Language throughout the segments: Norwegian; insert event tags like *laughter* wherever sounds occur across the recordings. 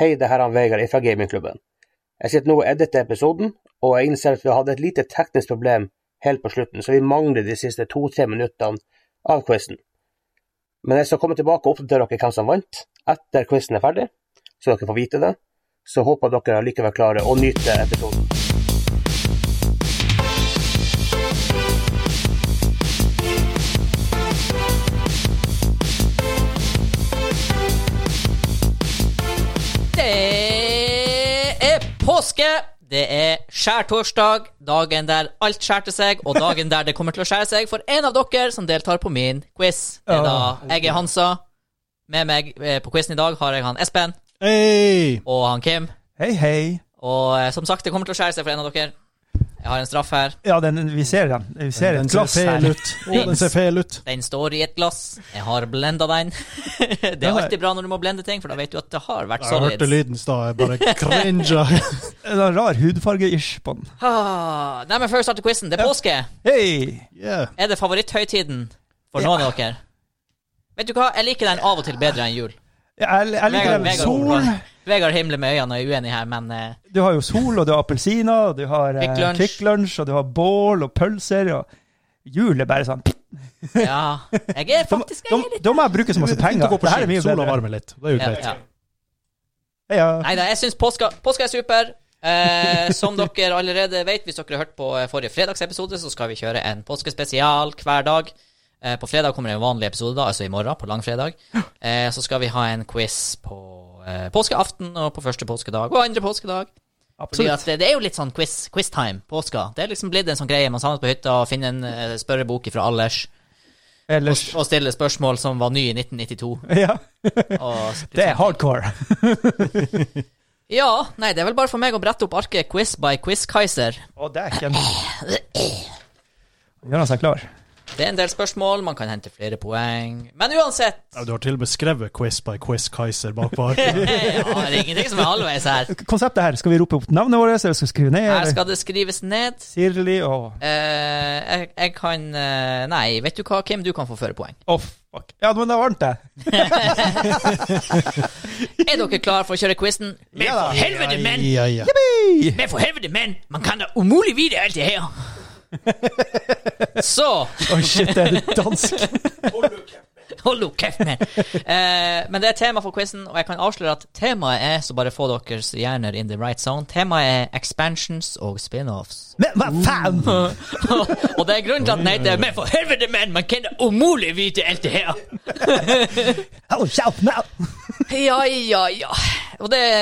Hei, det her er han Vegard fra Gamingklubben. Jeg sitter nå og editer episoden, og jeg innser at vi hadde et lite teknisk problem helt på slutten, så vi mangler de siste to-tre minuttene av quizen. Men jeg skal komme tilbake og oppdatere dere hvem som vant, etter quizen er ferdig, så dere får vite det. Så håper jeg dere likevel klarer å nyte episoden. Det er påske! Det er skjærtorsdag, dagen der alt skjærte seg, og dagen der det kommer til å skjære seg for en av dere som deltar på min quiz. Det er da jeg er Hansa. Med meg eh, på quizen i dag har jeg han Espen Hei! og han Kim. Hei, hei. Og eh, som sagt, det kommer til å skjære seg for en av dere. Jeg har en straff her. Ja, den, vi ser den. Vi ser Den et ser glass her. fæl ut. *laughs* Å, den ser fæl ut. Den står i et glass. Jeg har blenda den. *laughs* Det er alltid bra når du må blende ting, for da vet du at det har vært Jeg hørte solid. lyden i stad, *laughs* jeg bare cringa. Det er rar hudfarge-ish på den. Ah, nei, men før vi starter quizen, det er påske. Hei! Yeah. Er det favoritthøytiden for noen av dere? Vet du hva, jeg liker den av og til bedre enn jul. Ja, Jeg, jeg *laughs* liker den. Sol. Vegard- Vegard himler med øynene og er uenig her, men eh, Du har jo sol, og du har appelsiner, og du har Kvikk eh, Lunsj. Kvikk Lunsj, og du har bål og pølser, og jul er bare sånn ja. Jeg *laughs* er Da, faktisk jeg da, er litt da må jeg bruke så masse Fint penger. å gå på Det her er ski. mye Sola bedre. varmer litt. Det er jo ja, greit. ja. Ja. Nei da, jeg syns påska, påska er super. Eh, som dere allerede vet, hvis dere har hørt på eh, forrige fredagsepisode, så skal vi kjøre en påskespesial hver dag. Eh, på fredag kommer det en vanlig episode, da, altså i morgen, på langfredag. Eh, så skal vi ha en quiz på eh, påskeaften og på første påskedag og andre påskedag. Fordi Absolutt. at det, det er jo litt sånn quiz, quiz time, påska. Det er liksom blitt en sånn greie. Man samles på hytta og finner en eh, spørrebok fra Allers og, Ellers og stiller spørsmål som var nye i 1992. *laughs* Ja. Og, Det er hardcore. sånn, ja, nei, det er vel bare for meg å brette opp arket Quiz by Quiz-Kaiser. Å, dæken. Gjør han seg klar? Det er en del spørsmål, man kan hente flere poeng. Men uansett Ja, du har til og med skrevet Quiz by Quiz Kaiser bakpå arket. *laughs* Ja, det er ingenting som er halvveis her. Konseptet her, skal vi rope opp navnet vårt, eller skal vi skrive ned? Her eller? skal det skrives ned. Sirli og Eh, jeg, jeg kan eh, Nei, vet du hva, Kim? Du kan få føre poeng. Å, fuck. Ja, men det var varmt, det. Er dere klare for å kjøre quizen? Men Ja da. for helvete, menn! Ja, ja. Men for helvete, menn! Man kan da umulig vite alt det her! Så Oi, shit, det er *laughs* dansk. Hold opp kjeften min! Eh, men det er tema for quizen, og jeg kan avsløre at temaet er Så bare få deres hjerner in the right zone. Temaet er expansions og spin-offs. Men hva faen? *laughs* og det er grunnen til at den heter Men for helvete, menn! Man kan da umulig vite alt det her! Hold kjeft nå! Ja, ja, ja. Og det er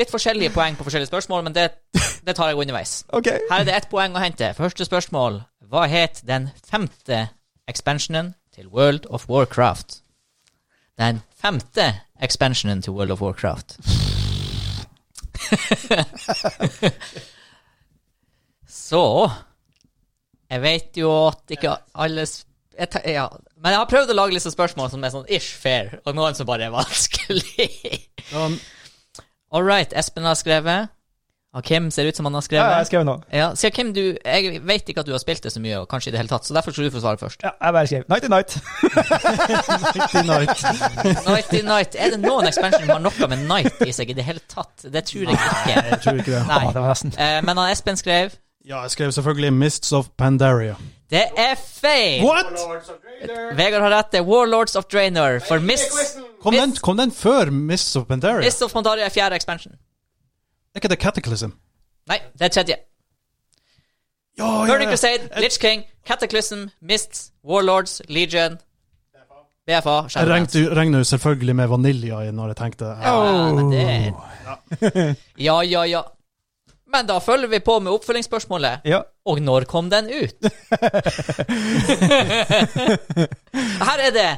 litt forskjellige poeng på forskjellige spørsmål, men det, det tar jeg underveis. Ok. Her er det ett poeng å hente. Første spørsmål. Hva het den femte expansionen til World of Warcraft? Den femte expansionen til World of Warcraft. *laughs* Så Jeg vet jo at ikke alle sp- jeg te- ja. Men jeg har prøvd å lage litt sånn spørsmål som er sånn ish fair, og noen som bare er vanskelig. Um, All right, Espen har skrevet. Og Kim ser ut som han har Ja, skrevet. jeg skrev nå. Ja, så Kim, du, jeg vet ikke at du har spilt det så mye, og kanskje i det hele tatt, så derfor skal du få svare først. Ja, jeg bare skrev Nighty Night. Nighty night. Nighty Night, er det noen expansion som har noe med night i seg i det hele tatt? Det tror jeg ikke. Jeg tror ikke det. Nei. Å, det var nesten. Eh, men han Espen skrev Ja, jeg skrev selvfølgelig Mists of Pandaria. Det er feil! What?! Vegard har rett, det er Warlords of Draenor for Miss Kom den, kom den før Mists of Pandaria? Miss of Pandaria er fjerde expansion. Er ikke det Cataclysm? Nei, det er tredje. Ja, ja, Burning ja. Crusade, Lich King, Cataclysm, Mists, Warlords, Legion BFA. Jeg Shadowlands. regnet jo- regnet jo selvfølgelig med Vanilja i når jeg tenkte ja. Ja, men det Ja, ja, ja. Men da følger vi på med oppfølgingsspørsmålet. Ja. Og når kom den *laughs* ut? Her er det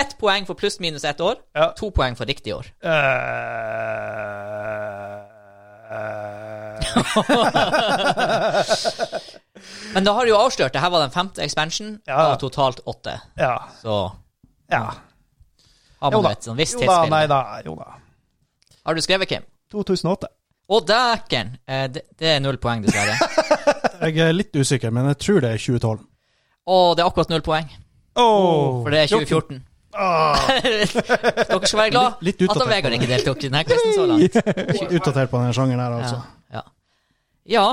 ett poeng for pluss-minus ett år, Eh. Ja. to poeng for riktig år. Eh, Men da har du jo avslørt det. Her var den femte expansion Ja. av totalt åtte. ja. Så Ja. har man Jo da. et sånn visst Jo da, nei tidsbilde. da. Jo da. Har du skrevet, Kim? 2008. Å, dæken! Eh, det, det er null poeng, *laughs* dessverre. Jeg er litt usikker, men jeg tror det er 2012. Å, det er akkurat null poeng. Åh, For det er 2014. *laughs* Ah, Dere skal være glad Litt- litt at utdatert han Vegard på ikke deltok i denne quizen så langt. ikke utdatert på denne sjangeren her, altså. Ja. ja.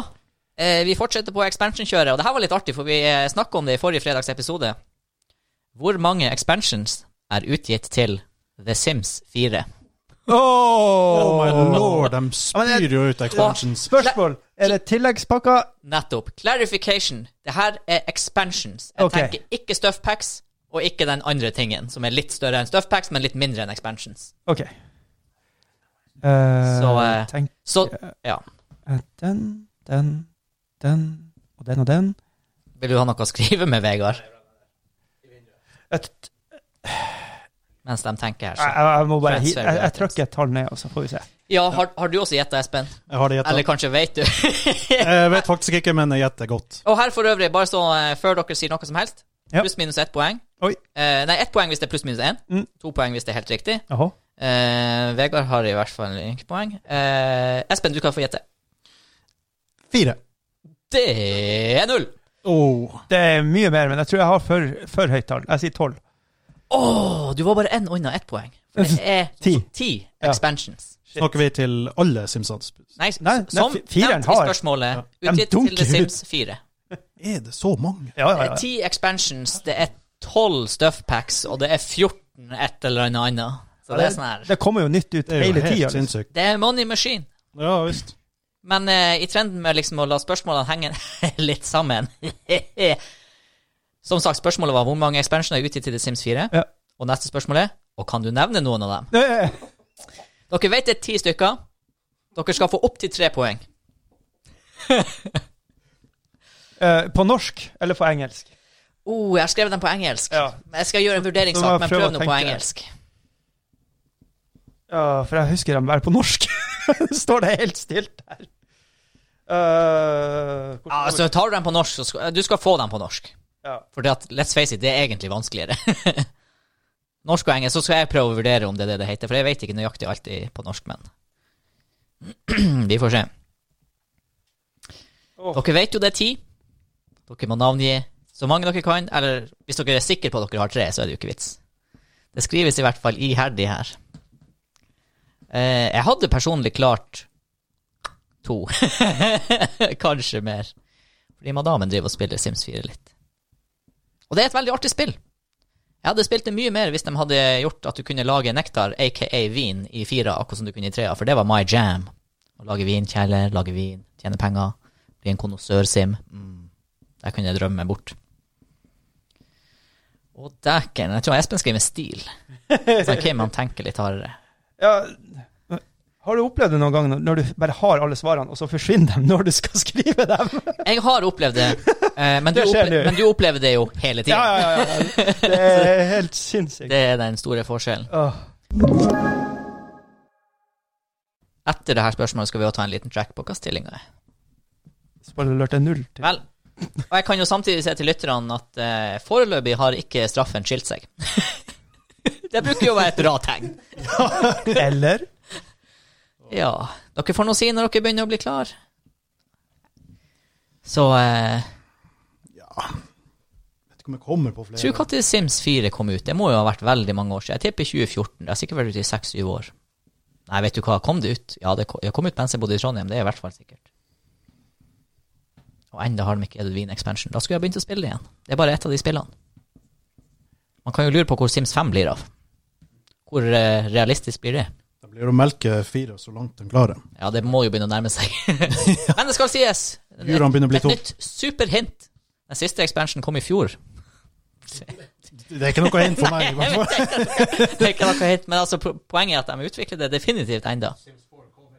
Eh, vi fortsetter på expansion-kjøret, og det her var litt artig, for vi eh, snakka om det i forrige fredags episode. Hvor mange expansions er utgitt til The Sims 4? Oh my lord, de men jeg- spyr jo ut expansions. Spørsmål. Er det tilleggspakker? Nettopp. Clarification. Det her er expansions. Jeg Ok. tenker ikke stuff packs, og ikke den andre tingen, som er litt større enn stuff packs, men litt mindre enn expansions. OK. Eh, Så, eh, tenk Så, ja. eh, den, den, den og den og den. Vil du ha noe å skrive med, Vegard? Jeg, t- Mens de tenker her, jeg, så. jeg må bare hi- Transfer Jeg, jeg gratis. trykker et tall ned, og så får vi se. Ja, har, har du også gjetta, Espen? Jeg har det Eller gjettet. kanskje vet du? *laughs* Jeg vet faktisk ikke, men jeg gjetter godt. Og her for øvrig, bare så eh, før dere sier noe som helst, Ja. pluss minus ett poeng. Oi. Eh, nei, ett poeng hvis det er pluss minus én. Mm. To poeng hvis det er helt riktig. Jaha. Eh, Vegard har i hvert fall ikke poeng. Eh, Espen, du kan få gjette. Fire. Det er null! Oh. Det er mye mer, men jeg tror jeg har for, for høyt tall. Jeg sier tolv. Å, du var bare én unna ett poeng. For *laughs* det er Ti. ti Ja. expansions. Snakker vi til alle Simpsons? Nei, s- Nei, nei, som fi- fireren nevnt i har- spørsmålet, Ja. De utgitt til dunker The ut. Sims 4. Er det så mange? Ja, ja, Det er ja. ti expansions, det er tolv stuff packs, og det er 14 et eller annet annet. Så det er sånn her Det kommer jo nytt ut Det er jo hele liksom. helt tida. *laughs* sinnssykt. Det er money machine. Ja visst. Men eh, i trenden med liksom å la spørsmålene henge *laughs* litt sammen Som sagt, spørsmålet var hvor mange expansioner er utgitt til The Sims 4. Ja. Og neste spørsmål er og kan du nevne noen av dem. Nei, eh, Dere vet det er ti stykker. Dere skal få opptil tre poeng. eh, På norsk eller på engelsk? Oh, jeg har skrevet dem på engelsk. Ja. Men Jeg skal gjøre en Så vurderingssak, må jeg men prøve prøv å nå på tenke. engelsk. Ja, for jeg husker dem bare på norsk. *laughs* Står det helt stilt her. Eh, hvordan- Ja, altså, tar du dem på norsk, så skal du skal få dem på norsk. Ja. Fordi at, let's face it, det er egentlig vanskeligere. *laughs* norsk og engelsk, så skal jeg prøve å vurdere om det er det det heter, for jeg vet ikke nøyaktig alltid på norsk, men *clears throat* Vi får se. Åh. Dere vet jo det er ti. Dere må navngi så mange dere kan, eller hvis dere er sikre på at dere har tre, så er det jo ikke vits. Det skrives i hvert fall iherdig her. Eh, jeg hadde personlig klart to. *laughs* Kanskje mer. Fordi madammen driver og spiller Sims 4 litt. Og det er et veldig artig spill. Jeg hadde spilt det mye mer hvis de hadde gjort at du kunne lage nektar, aka vin, i fira, akkurat som du kunne i trea, for det var my jam. Å lage vinkjeller, lage vin, tjene penger, bli en konnoissør-sim. Mm. Der kunne jeg drømme meg bort. Å, dæken. Jeg tror Espen skriver med stil. Så Kim han tenker litt hardere. Ja, har du opplevd det noen gang når du bare har alle svarene, og så forsvinner de når du skal *laughs* skrive dem? Jeg har opplevd det, eh, men, du *laughs* Det skjer opple nå. men du opplever det jo hele tiden. Ja, ja, ja. ja. Det er helt sinnssykt. Det er den store forskjellen. Åh. Etter det her spørsmålet skal vi jo ta en liten track på hva stillinga er. Spoiler alert det er null. til. Vel, og jeg kan jo samtidig si til lytterne at eh, foreløpig har ikke straffen skilt seg. *laughs* det bruker jo å være et bra tegn. Eller? Ja. Dere får nå si når dere begynner å bli klar. Så eh, Vet ikke om jeg kommer på Tro flere. når Sims 4 kom ut. Det må jo ha vært veldig mange år siden. Jeg tipper 2014. Det har sikkert vært ute i 6-7 år. Nei, vet du hva, kom det ut? Ja, det kom, jeg kom ut mens jeg bodde i Trondheim, det er i hvert fall sikkert. Og enda har de ikke Edvin Expansion. Da skulle jeg begynt å spille det igjen. Det er bare ett av de spillene. Man kan jo lure på hvor Sims 5 blir av. Hvor eh, realistisk blir det? Det blir å melke fire så langt de klarer. Ja, det må jo begynne å nærme seg. *laughs* Men det skal sies. Jurene begynner å bli Et tomme. nytt superhint. Den siste expansion kom i fjor. Det er ikke noe hint for meg. *laughs* i hvert fall. Det er ikke noe hit, men altså, po- poenget er at de utvikler det definitivt enda. *laughs*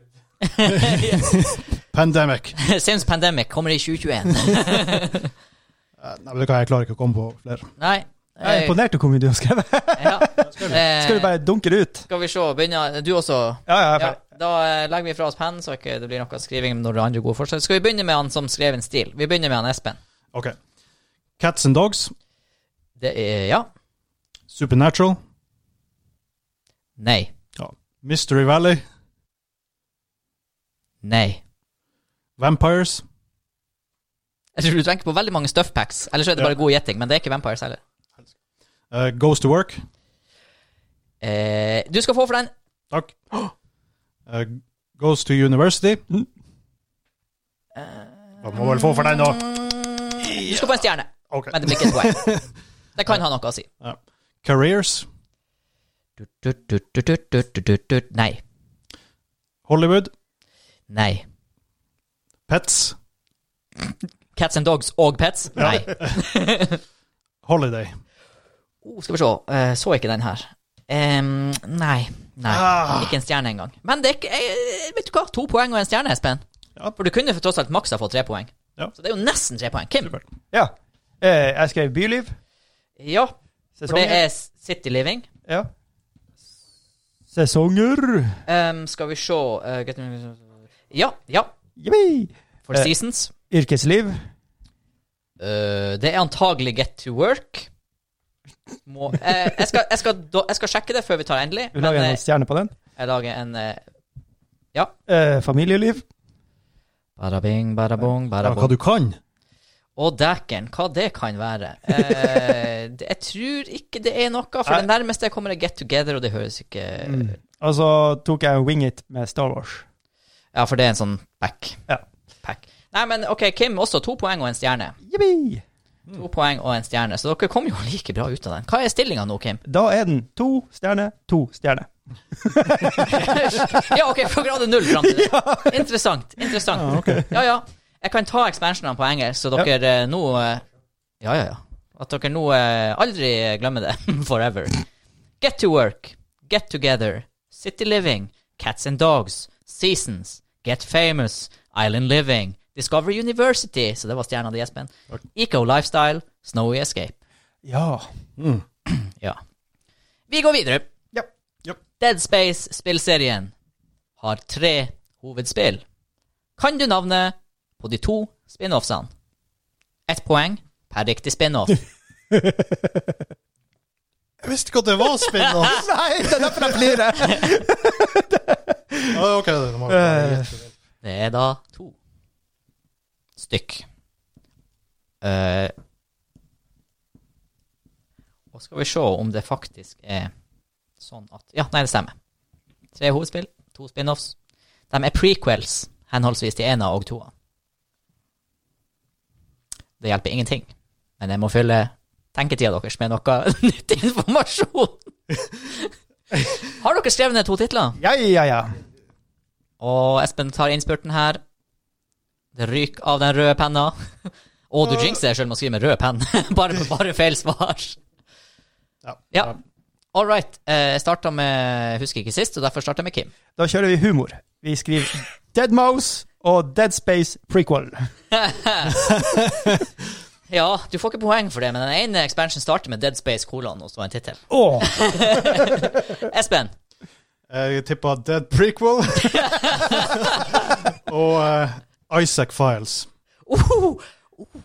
Pandemic. Sims Pandemic kommer i 2021. Eh, Nei, vet du hva, jeg klarer ikke å komme på flere. Nei. *laughs* Jeg er eh, imponert over hvor mye du har skrevet. ja. Eh, Skal du bare dunke det ut? Skal vi se, begynne Du også. Ja, ja, jeg er Ja, ferdig. da eh, legger vi fra oss pennen, så ikke det blir noe skriving når det er andre gode forslag. Skal vi begynne med han som skrev en stil? Vi begynner med han Espen. Ok. Cats and Dogs, Det er Ja. Supernatural, Nei. Mystery Valley, Nei. Vampires. Jeg tror du tenker på veldig mange stuffpacks, eller så er det Ja. bare god gjetting, men det er ikke Vampires heller. eh, goes to work. Eh, du skal få for den. Takk. Eh, goes to university. Man må vel få for den, da. Du skal få en stjerne, Ok. men det blir ikke et poeng. Det kan ha noe å si. Ja. Careers. Du-du-du-du-du-du-du-du. Nei. Hollywood. Nei. Pets. Cats and dogs og pets? Nei. Holiday. Oh, skal vi se. Eh, så ikke den her. Em, nei. Nei. Ah. Ikke en stjerne engang. Men det er ikke eh, Vet du hva? To poeng og en stjerne, Espen. Ja. For du kunne for tross alt maks ha fått tre poeng. Ja. Så det er jo nesten tre poeng. Kim. Supert. Ja. Eh, jeg skrev Byliv. Ja, for det Sesonger. er City Living. ja. Sesonger. Em, skal vi se eh, get- Ja. ja Yippee. For Eh. Seasons. Yrkesliv. Eh, det er antagelig Get to Work. Må, eh, jeg, skal, jeg, skal, da- jeg skal sjekke det før vi tar endelig. Vi Men lager eh, en stjerne på den. jeg lager en eh, Eh, familieliv. Badabing, badabong, Ja, badabong. hva du kan. Å, dæken, hva det kan være. Eh, det- jeg tror ikke det er noe, for Nei. det nærmeste jeg kommer, er Get Together, og det høres ikke Mm. Og så tok jeg Wing It med Star Wars. Ja, for det er en sånn pack. Ja. pack. Nei, men OK, Kim også. To poeng og en stjerne. Yippee. To poeng og en stjerne, så dere kom jo like bra ut av den. Hva er stillinga nå, Kim? Da er den to stjerne, to stjerne. ja, OK, fra grad null fram til det. Interessant. Interessant. Ja, ja, Jeg kan ta ekspansjonene på engelsk, så dere eh, nå eh, Ja, ja, ja. At dere nå eh, aldri glemmer det. *laughs* Forever. Get to work. Get together. City living. Cats and dogs. Seasons. Get famous. Island living. Discover University. Så det var stjerna di, Espen. Eco lifestyle. Snowy escape. Ja. Ja. Vi går videre. Ja. Ja. Dead Space-spillserien har tre hovedspill. Kan du navnet på de to spin-offsene? Ett poeng per riktig spin-off. Jeg visste ikke at det var *laughs* spin-off. Nei, det er derfor jeg *laughs* flirer! Ja, ok, det må Eh. Det er da to stykk. Eh, og skal vi se om det faktisk er sånn at Ja, nei, det stemmer. Tre hovedspill, to spin-offs. De er prequels, henholdsvis til ena og toa. Det hjelper ingenting, men jeg må fylle tenketida deres med noe *laughs* nytt informasjon. *laughs* Har dere skrevet ned to titler? Ja, ja, ja. Og Espen tar innspurten her. Det ryker av den røde penna. *laughs* Og du jinxer deg sjøl med å skrive med rød penn. *laughs* bare, bare feil svar. Ja. Ja. All right. Eh, Jeg starta med Husker ikke sist, og derfor starta jeg med Kim. Da kjører vi humor. Vi skriver Dead Mouse og Dead Space prequel. Ja, du får ikke poeng for det, men den ene expansion starter med Dead Space kolon, og så en tittel. Åh, Espen. Jeg tippa Dead *laughs* Prequel. og eh, Isaac Files. Uhu! Uh,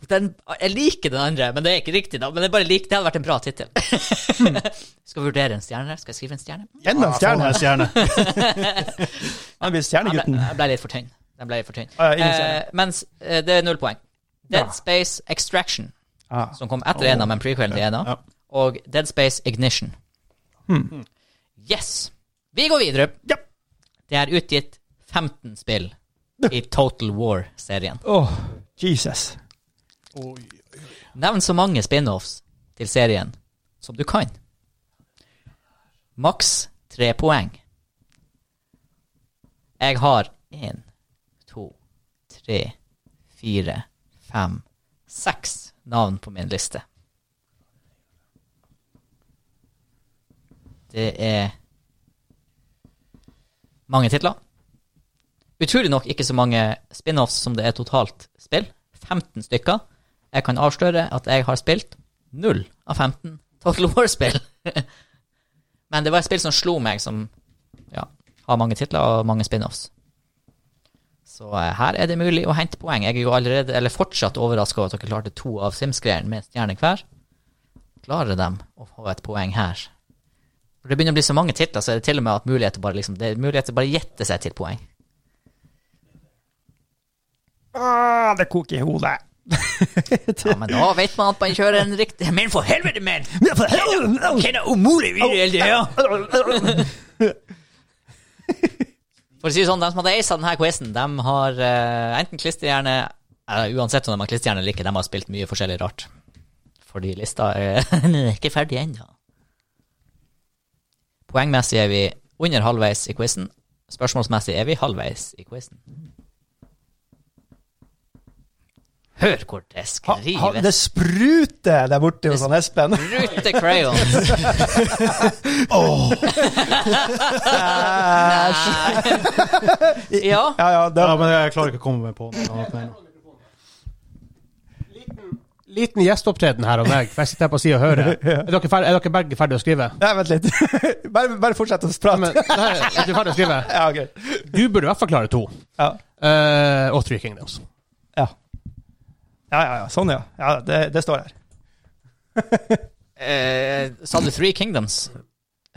den, jeg liker den andre, men det er ikke riktig, da. Men jeg bare liker, det hadde vært en bra tittel. Skal vurdere en stjerne her. Skal jeg skrive en stjerne? Enda en stjerne. Ah, faen, *laughs* en stjerne. Han blir Jeg ble, stjernegutten. jeg ble litt for tynn. Jeg ble litt for tynn. Ah, ja, ingen eh, stjerne. mens eh, det er null poeng. Dead Ja. Space Extraction, Ah. som kom etter ena, men prequelen til ena, ja. og Dead Space Ignition. Yes! Vi går videre. Hmm. Ja. Det er utgitt 15 spill i Total War-serien. Åh, Jesus. Nevn så mange spin-offs til serien som du kan. Maks tre poeng. Jeg har én, to, tre, fire, fem, seks navn på min liste. Det er mange titler. Utrolig nok ikke så mange spin-offs som det er totalt spill. 15 stykker. Jeg kan avsløre at jeg har spilt 0 av 15 Total War-spill. *laughs* Men det var et spill som slo meg, som ja, har mange titler og mange spin-offs. Så eh, her er det mulig å hente poeng. Jeg er jo allerede, eller fortsatt overraska over at dere klarte to av Sims-greiene med en stjerne hver. Klarer de å få et poeng her? For det begynner å bli så mange titler, så er det til og med at muligheter bare liksom, det er muligheter til å bare gjette seg til poeng. Ah, det koker i hodet. Ja, men da vet man at man kjører en riktig Men for helvete, men! Hvem er umulig videre hele tida? For å si det sånn, de som hadde acet denne quizen, de har eh, enten klisterhjerne eh, Uansett om de har klisterhjerne eller ikke, de har spilt mye forskjellig rart. Fordi lista er *laughs* ikke ferdig ennå. Poengmessig er vi under halvveis i quizen. Spørsmålsmessig er vi halvveis i quizen. Hør hvor det Ha, ha, skrives! det spruter der borte hos han Espen. Rute crayons. ja. Ja, ja, det, Ja, men jeg klarer ikke å komme meg på noe annet med en gang. Liten gjesteopptreden her av meg, for jeg sitter her på sida og hører. Er dere, ferdig, er dere begge ferdige å skrive? Nei, vent litt. *laughs* Bare, bare fortsett å Ja, prate. men, nei, er du ferdig å skrive? Ja, ok. Du burde i hvert fall klare to. Ja. Eh, og Three Kingdoms. Ja. ja, ja, ja. Sånn, ja. ja det, det står her. *laughs* Eh, sa du Three Kingdoms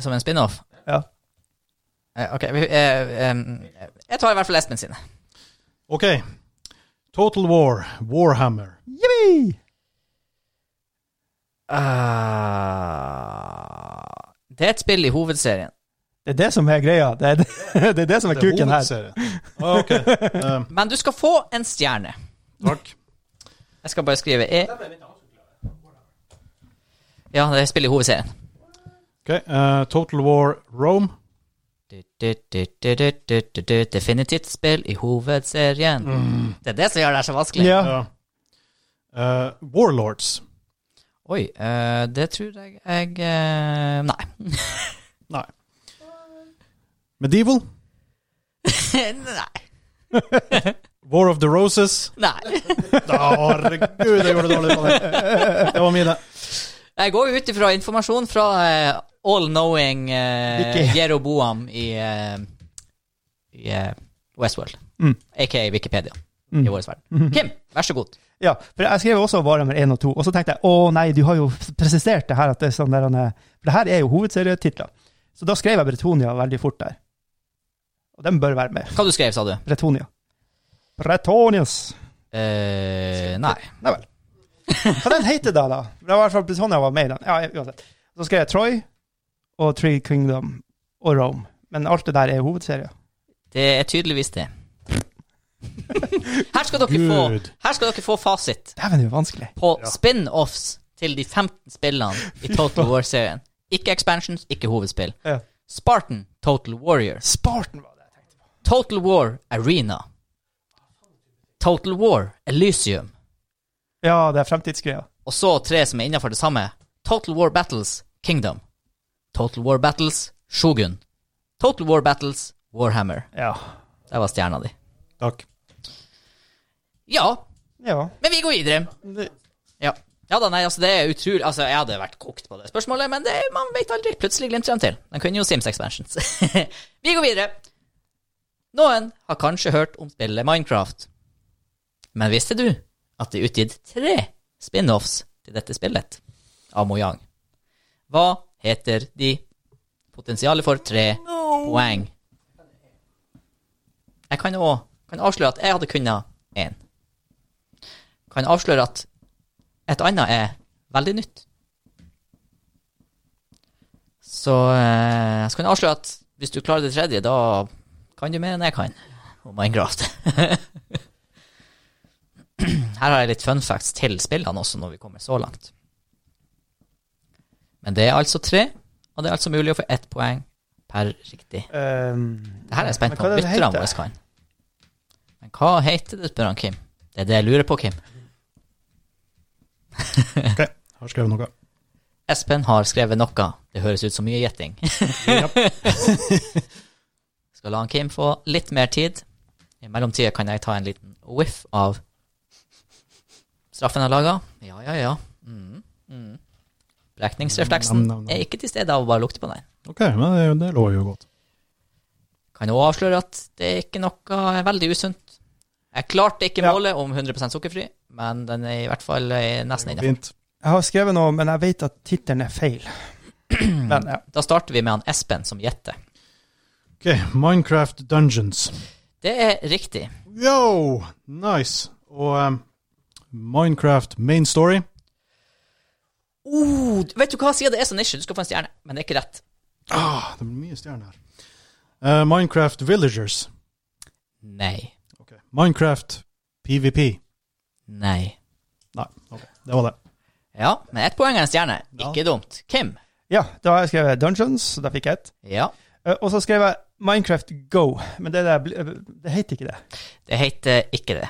som en spin-off? Ja. Eh, ok, vi, eh, em, jeg tar i hvert fall Espen sine. OK. Total War, Warhammer. Ah, det er et spill i hovedserien. Det er det som er greia. Det er det, *laughs* det, er det som er Det er kuken her. hovedserien. Ah, OK. Eh, Men du skal få en stjerne. takk. Jeg skal bare skrive E. Ja, det er et spill i hovedserien. OK. eh, Total War, Rome. Du, du, du, du, du, du, du, du, Definitivt spill i hovedserien. Det er det som gjør det her så vanskelig. Ja. Ja. Eh, Warlords. Oi, eh, det tror jeg jeg eh, Nei. Nei. Medieval. *laughs* nei. War of the *laughs* Roses. Nei. Herregud, jeg gjorde det dårlig på det. Det var mine. Jeg går jo ut ifra informasjon fra eh, all-knowing eh, Wiki. Jeroboam i, eh, i eh, Westworld, Mm. Mm-hmm. aka Wikipedia, i vår verden. Kim, vær så god. Ja, for jeg skrev også Warhammer 1 og 2, og så tenkte jeg å nei, du har jo presisert det her at det er sånn der, han er- For det her er jo hovedserietitler. Så da skrev jeg Bretonia veldig fort der. Og den bør være med. Hva du skrev, sa du? Bretonia. Bretonius. Eh, nei. Nei vel. Hva den heter da, da? Det var i hvert fall Bretonia var med i den. Ja, uansett. Så skrev jeg Troy og Three Kingdom og Rome. Men alt det der er hovedserier. Det er tydeligvis det. her, skal dere få, Gud. her skal dere få fasit Dæven, det er jo vanskelig. på spin-offs til de 15 spillene i Total War-serien. Ikke expansions, ikke hovedspill. Ja. Spartan Total Warrior. Spartan var det jeg tenkte på. Total War Arena. Total War Elysium. Ja, det er fremtidsgreia. Og så tre som er innenfor det samme. Total War Battles Kingdom. Total War Battles Shogun. Total War Battles Warhammer. Ja. Der var stjerna di. Takk. Ja, Ja. men vi går videre. Ja. Ja da, nei, altså det er utrolig Altså, jeg hadde vært kokt på det spørsmålet, men det, man vet aldri. Plutselig glimter de til. De kunne jo Sims Expansions. *laughs* vi går videre. Noen har kanskje hørt om spillet Minecraft. Men visste du at det er utgitt tre spin-offs til dette spillet av Mojang? Hva heter de? Potensialet for tre poeng. Jeg kan òg kan avsløre at jeg hadde kunnet én. Kan avsløre at et annet er veldig nytt. Så eh, jeg skal avsløre at hvis du klarer det tredje, da kan du mer enn jeg kan om Minecraft. *clears throat* Her har jeg litt fun facts til spillene også, når vi kommer så langt. Men det er altså tre, og det er altså mulig å få ett poeng per riktig. Um, Det her er jeg spent Men på hva om er det det lytterne heter? våre kan. Men hva heter det, spør han Kim. Det er det jeg lurer på, Kim. OK, har skrevet noe. Espen har skrevet noe. Det høres ut som mye gjetting. *laughs* Skal la han Kim få litt mer tid. I mellomtida kan jeg ta en liten whiff av straffen jeg laga. Ja, ja, ja. Mm, mm. Brekningsrefleksen Nam, nam, nam. er ikke til stede av å bare lukte på den. OK, men det, det lover jo godt. Kan òg avsløre at det er ikke noe veldig usunt. Jeg klarte ikke Ja. målet om 100 sukkerfri, men den er i hvert fall eh, nesten inne. Fint. jeg har skrevet noe, men jeg vet at tittelen er feil. Men ja. Da starter vi med han Espen som gjetter. OK, Minecraft Dungeons. Det er riktig. Yo! Nice. Og um, Minecraft main story. Oh, vet du hva, siden det er sånn issue, du skal få en stjerne, men det er ikke rett. Ah, det blir mye stjerner her. Eh, Minecraft Villagers. Nei. Minecraft PVP. Nei. Nei, ok, det var det. Ja, men ett poeng er en stjerne. Ja. Ikke dumt. Kim. Ja, da har jeg skrevet Dungeons, og da fikk jeg ett. Ja. Eh, Og så skrev jeg Minecraft Go, men det, der, bli- det heter ikke det. Det heter ikke det.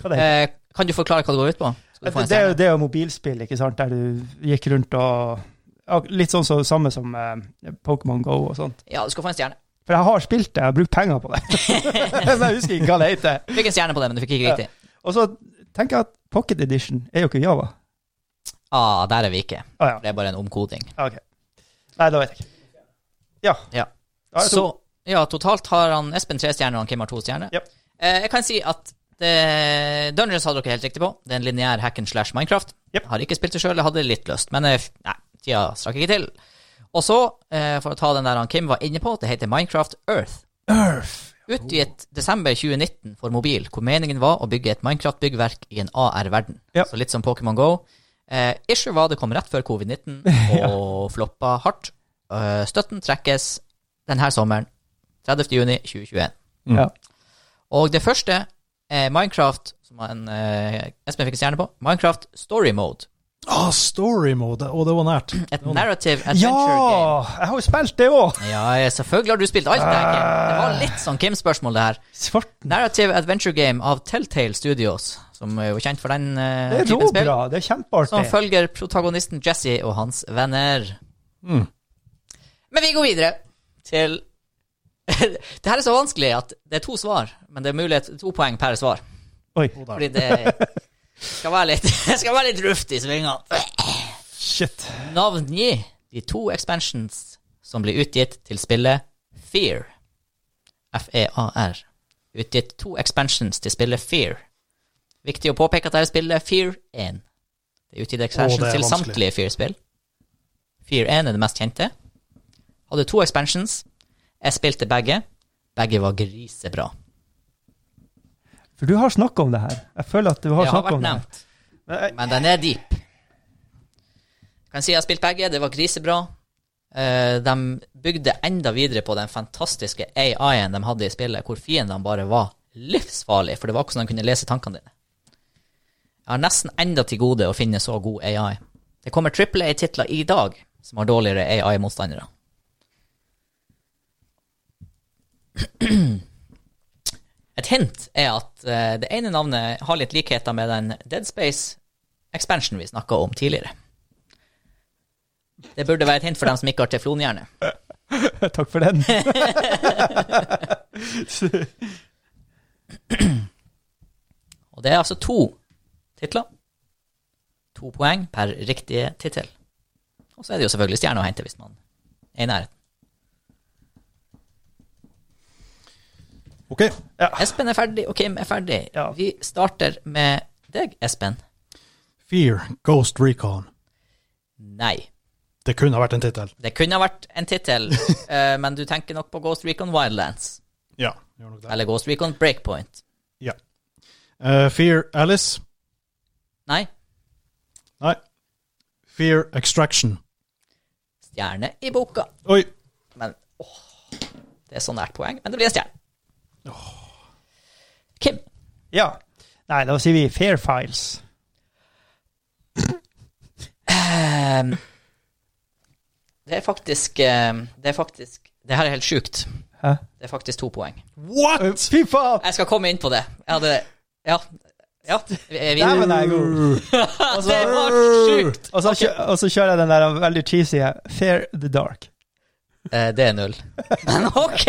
Hva det heter? Eh, kan du forklare hva det går ut på? Skal du få Det, en det, er jo, stjerne? det er jo mobilspill, ikke sant, der du gikk rundt og ja, Litt sånn så, samme som eh, Pokémon Go og sånt. Ja, du skal få en stjerne. For jeg har spilt det, jeg har brukt penger på det. *laughs* Men jeg husker ikke hva det heter. Du fikk en stjerne på det, men du fikk ikke riktig. Og så tenker jeg at Pocket Edition er jo ikke Java. Ah, der er vi ikke. Ah, ja. Det er bare en omkoding. Ja, Ok. Nei, da vet jeg ikke. Ja. Ja. Da er det Så ja, totalt har han Espen tre stjerner og han Kim har to stjerner. Ja. Eh, jeg kan si at det, Dungeons hadde dere helt riktig på. Det er en lineær hack and slash Minecraft. Jep. Har ikke spilt det sjøl, hadde litt lyst, men eh, f- nei, tida strakk ikke til. Og så, eh, for å ta den der han Kim var inne på, det heter Minecraft Earth. Earth. Utgitt desember 2019 for mobil, hvor meningen var å bygge et Minecraft-byggverk i en AR-verden. Ja. Så litt som Pokémon Go. Eh, issue var det kom rett før covid-19 *laughs* og floppa hardt. Eh, støtten trekkes denne sommeren, 30. juni 2021. Mm. Ja. Og det første er Minecraft, som han, eh, Espen fikk en stjerne på, Minecraft Story Mode. Ah, story mode. Å, det var nært. Et narrative Ja! adventure game. Jeg har jo spilt det òg! Ja, ja, selvfølgelig har du spilt alt det her, Kim. Det Ah. var litt sånn Kim-spørsmål, det her. Svarten. Narrative Adventure Game av Telltale Studios, som er jo kjent for den eh, Det er typen spill, råbra. Det er som kjempeartig. følger protagonisten Jesse og hans venner. Men vi går videre til *laughs* Det her er så vanskelig at det er to svar, men det er mulighet to poeng per svar. Oi. Fordi det skal være litt, *laughs* det skal være litt ruft i svingene. Shit. Navngi de to expansions som blir utgitt til spillet Fear. F-E-A-R. Utgitt to expansions til spillet Fear. Viktig å påpeke at dette spillet er Fear 1. Det er utgitt expansions Å, det er til vanskelig. samtlige Fear-spill. Fear 1 er det mest kjente. Hadde to expansions. Jeg spilte begge. Begge var grisebra. For du har snakka om det her. Jeg føler at du har Det har snakka vært om det. her. nevnt. Men jeg- Men den er deep. Jeg kan si jeg har spilt begge. Det var grisebra. Eh, de bygde enda videre på den fantastiske AI-en de hadde i spillet, hvor fiendene bare var livsfarlige, for det var akkurat som de kunne lese tankene dine. Jeg har nesten enda til gode å finne så god AI. Det kommer triple A-titler i dag som har dårligere AI-motstandere. Et hint er at eh, det ene navnet har litt likheter med den Dead Space expansion vi snakka om tidligere. Det burde være et hint for dem som ikke har teflonhjerne. *laughs* Takk for den. Og det er altså to titler. To poeng per riktige tittel. Og så er det jo selvfølgelig stjerne å hente hvis man er i nærheten. Ok. Espen er ferdig, og Kim er ferdig. Ja. Vi starter med deg, Espen. Fear, Ghost Recon. Nei. Det kunne ha vært en tittel. Det kunne ha vært en tittel, eh, men du tenker nok på Ghost Recon Wildlands. Ja. Gjør nok det. Eller Ghost Recon Breakpoint. Ja. Eh, Fear Alice. Nei. Nei. Fear Extraction. Stjerne i boka. Oi. Men åh, det er så nært poeng. Men det blir en stjerne. Kim. Ja. Nei, da sier vi Fair Files. ehm, det er faktisk ehm, Det er faktisk Det her er helt sjukt. Hæ? Det er faktisk to poeng. What?! Fy faen! Jeg skal komme inn på det. Jeg hadde Ja. ja vi, vi, *laughs* Dæven, jeg er god. det var sjukt! Og så, kjø- og så kjører jeg den der veldig cheesy Fair the Dark. Eh, det er null. Men OK!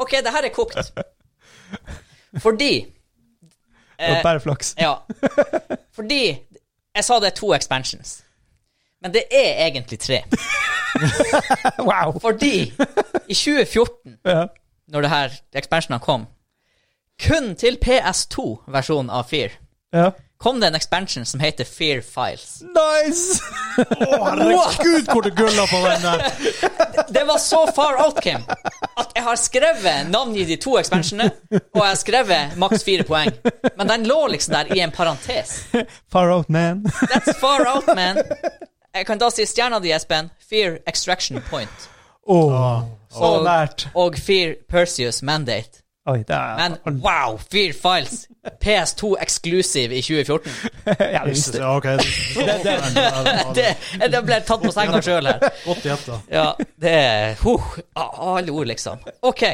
OK, det her er kokt. Fordi Det var eh, bare flaks. Ja. Fordi jeg sa det er to expansions. Men det er egentlig tre. Wow! Fordi i 2014, Ja. når det her expansionen kom, kun til PS2-versjonen av Fear, Ja. kom det en expansion som heter Fear Files. *laughs* Nice! Å, herregud, hvor det gulla på den der! Det var så far out, Kim, at jeg har skrevet navn i de to expansionene, og jeg har skrevet maks fire poeng. Men den lå liksom der i en parentes. Far out, man. That's far out, man. Jeg kan da si stjerna di, Espen. Fear Extraction Point. Ah. Åh, så Og- nært. Og Fear Perseus Mandate. Oi, det er Men *laughs* wow, Fear Files! PS2 Exclusive i 2014. ja, vi Jesus, visste det. ja, ok. Det- Det, det- det ble tatt på senga sjøl her. Godt gjetta. Ja, det er huh, ah, Alle ord, liksom. OK,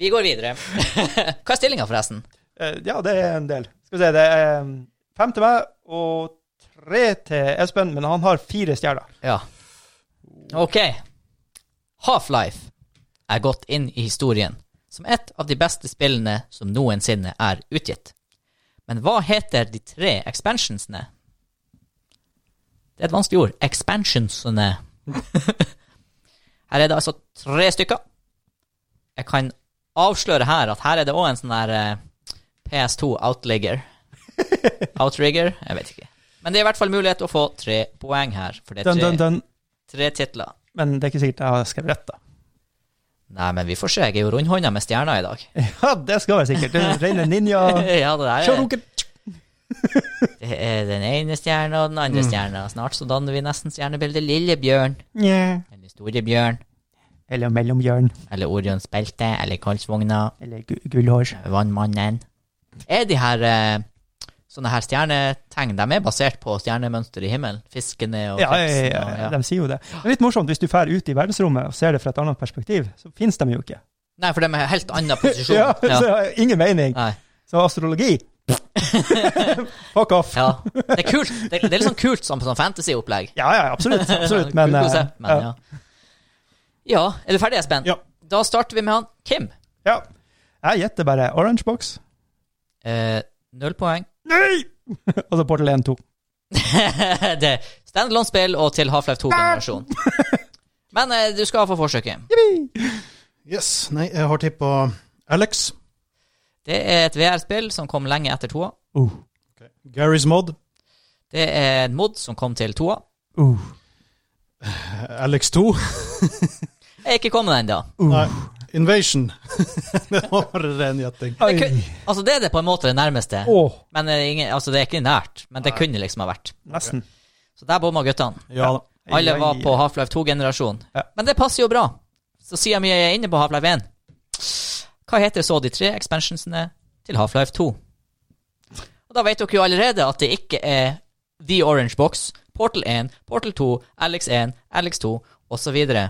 vi går videre. *laughs* Hva er stillinga, forresten? Eh, Ja, det er en del. Skal vi se, det er eh, fem til meg og tre til Espen, men han har fire stjerner. Ja. OK. Half-Life er gått inn i historien som et av de beste spillene som noensinne er utgitt. Men hva heter de tre expansionsene? Det er et vanskelig ord. Expansionsene. *laughs* her er det altså tre stykker. Jeg kan avsløre her at her er det òg en sånn der eh, PS2 *laughs* Outligger. Outrigger? Jeg vet ikke. Men det er i hvert fall mulighet til å få tre poeng her, for det er Dun, tre, dun, dun. tre titler. Men det er ikke sikkert jeg har skrevet rett, da. *laughs* Nei, men vi får se. Jeg er jo rundhånda med stjerna i dag. Ja, det skal være sikkert. Det er Rene ninja. *laughs* Ja, det, *laughs* der er, Shodoken. det er den ene stjerna og den andre Mm. stjerna. Snart så danner vi nesten stjernebildet Lillebjørn. Nja. Eller Storebjørn. Eller mellomhjørn. Eller Orions belte. Eller Kolsvogna. Eller gu- gullhår. Vannmannen. Er de her eh, sånne her stjernetegn De er basert på stjernemønster i himmelen? Fiskene og Ja, ja, krepsen ja, ja, og ja. de sier jo det. Det er litt morsomt hvis du drar ut i verdensrommet og ser det fra et annet perspektiv, så finnes de jo ikke. Nei, for de er helt *laughs* annen posisjon. Ja, så det har ingen mening. Nei. *laughs* Så astrologi Fuck off. Ja. Det er kult. Det, det er litt sånn kult som sånn fantasy-opplegg. Ja, ja, absolutt. absolutt men, Kult eh, konsept, men ja. ja. Er du ferdig, Espen? Ja. Da starter vi med han Kim. ja. Jeg gjetter bare Orange Box. Eh, null poeng. *laughs* Nei! *laughs* Og så Portal 1-2. det er standalone-spill og til Half-Life 2-generasjon. *laughs* Men eh, du skal få forsøket. Yes. Nei, jeg har tippa Alex. Det er et VR-spill som kom lenge etter toa. Uh, Gary's Mod. Det er en mod som kom til toa. uh, Alex 2. Jeg er ikke kommet ennå. Nei. Invasion. *laughs* det var ren gjetting. Oi. Altså, det er det på en måte det nærmeste. Åh, Men det er, ingen, altså, det er ikke nært. Men det kunne liksom ha vært. nesten. Så der bomma guttene. Ja da. Alle var Ai, på Half-Life 2-generasjon. Ja. Men det passer jo bra. Så siden vi er inne på Half-Life 1, hva heter så de tre expansionsene til Half-Life 2? Og da vet dere jo allerede at det ikke er The Orange Box, Portal 1, Portal 2, Alex 1, Alex 2 osv. Jeg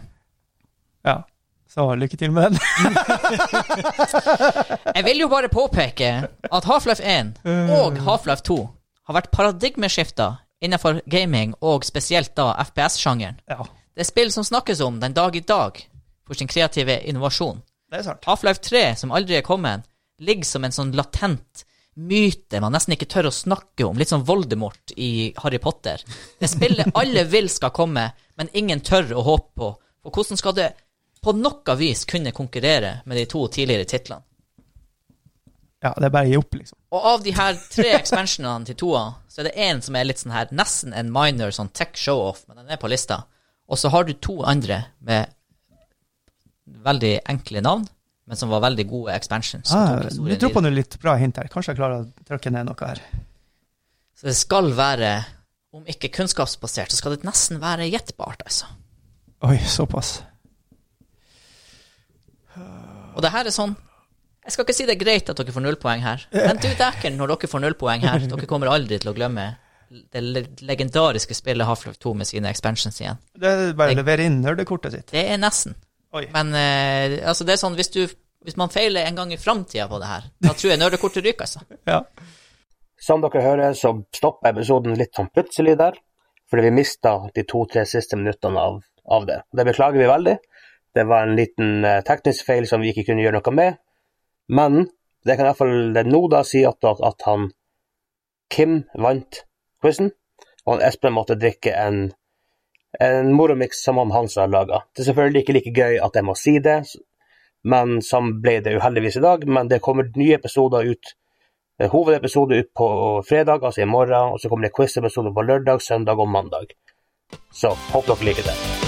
Ja. Så lykke til med den. *laughs* vil jo bare påpeke at Half-Life 1 og Half-Life 2 har vært paradigmeskifter innenfor gaming, og spesielt da FPS-sjangeren. Ja, Det er spill som snakkes om den dag i dag for sin kreative innovasjon. det er sant. Half-Life 3, som aldri er kommet, ligger som en sånn latent myte man nesten ikke tør å snakke om. Litt sånn Voldemort i Harry Potter. Det spillet alle vil skal komme, men ingen tør å håpe på. Og hvordan skal det på noe vis kunne konkurrere med de to tidligere titlene? Ja, det er bare å gi opp, liksom. Og av de her tre expansionene til toa, så er det én som er litt sånn her, nesten en minor sånn tech show-off, men den er på lista. Og så har du to andre med veldig enkle navn, men som var veldig gode expansions. som Ah, tok historien du droppa videre. nå litt bra hint her. Kanskje jeg klarer å trykke ned noe her. Så det skal være, om ikke kunnskapsbasert, så skal det nesten være gjettbart, altså. Oi, såpass. Og det her er sånn Jeg skal ikke si det er greit at dere får nullpoeng her, men du dæken, når dere får nullpoeng her, dere kommer aldri til å glemme det le- legendariske spillet Half-Life 2 med sine expansions igjen. Det er bare å Jeg- levere inn nerdekortet sitt. Det er nesten. Oi. Men eh, altså, det er sånn hvis du hvis man feiler en gang i framtida på det her, da tror jeg nerdekortet ryker, altså. Ja. Som dere hører, så stopper episoden litt sånn plutselig der, fordi vi mista de to-tre siste minuttene av, av det. Det beklager vi veldig. Det var en liten eh, teknisk feil som vi ikke kunne gjøre noe med, men det kan iallfall nå da si at, at, at han Kim vant quizen, og han Espen måtte drikke en, en moromiks som han Hans har laga. Det er selvfølgelig ikke like gøy at jeg må si sånn det, men som ble det uheldigvis i dag, men det kommer nye episoder ut Det er Eh, hovedepisode ut på fredag, altså i morgen, og så kommer det quiz-episode på lørdag, søndag og mandag. Så håper dere liker det.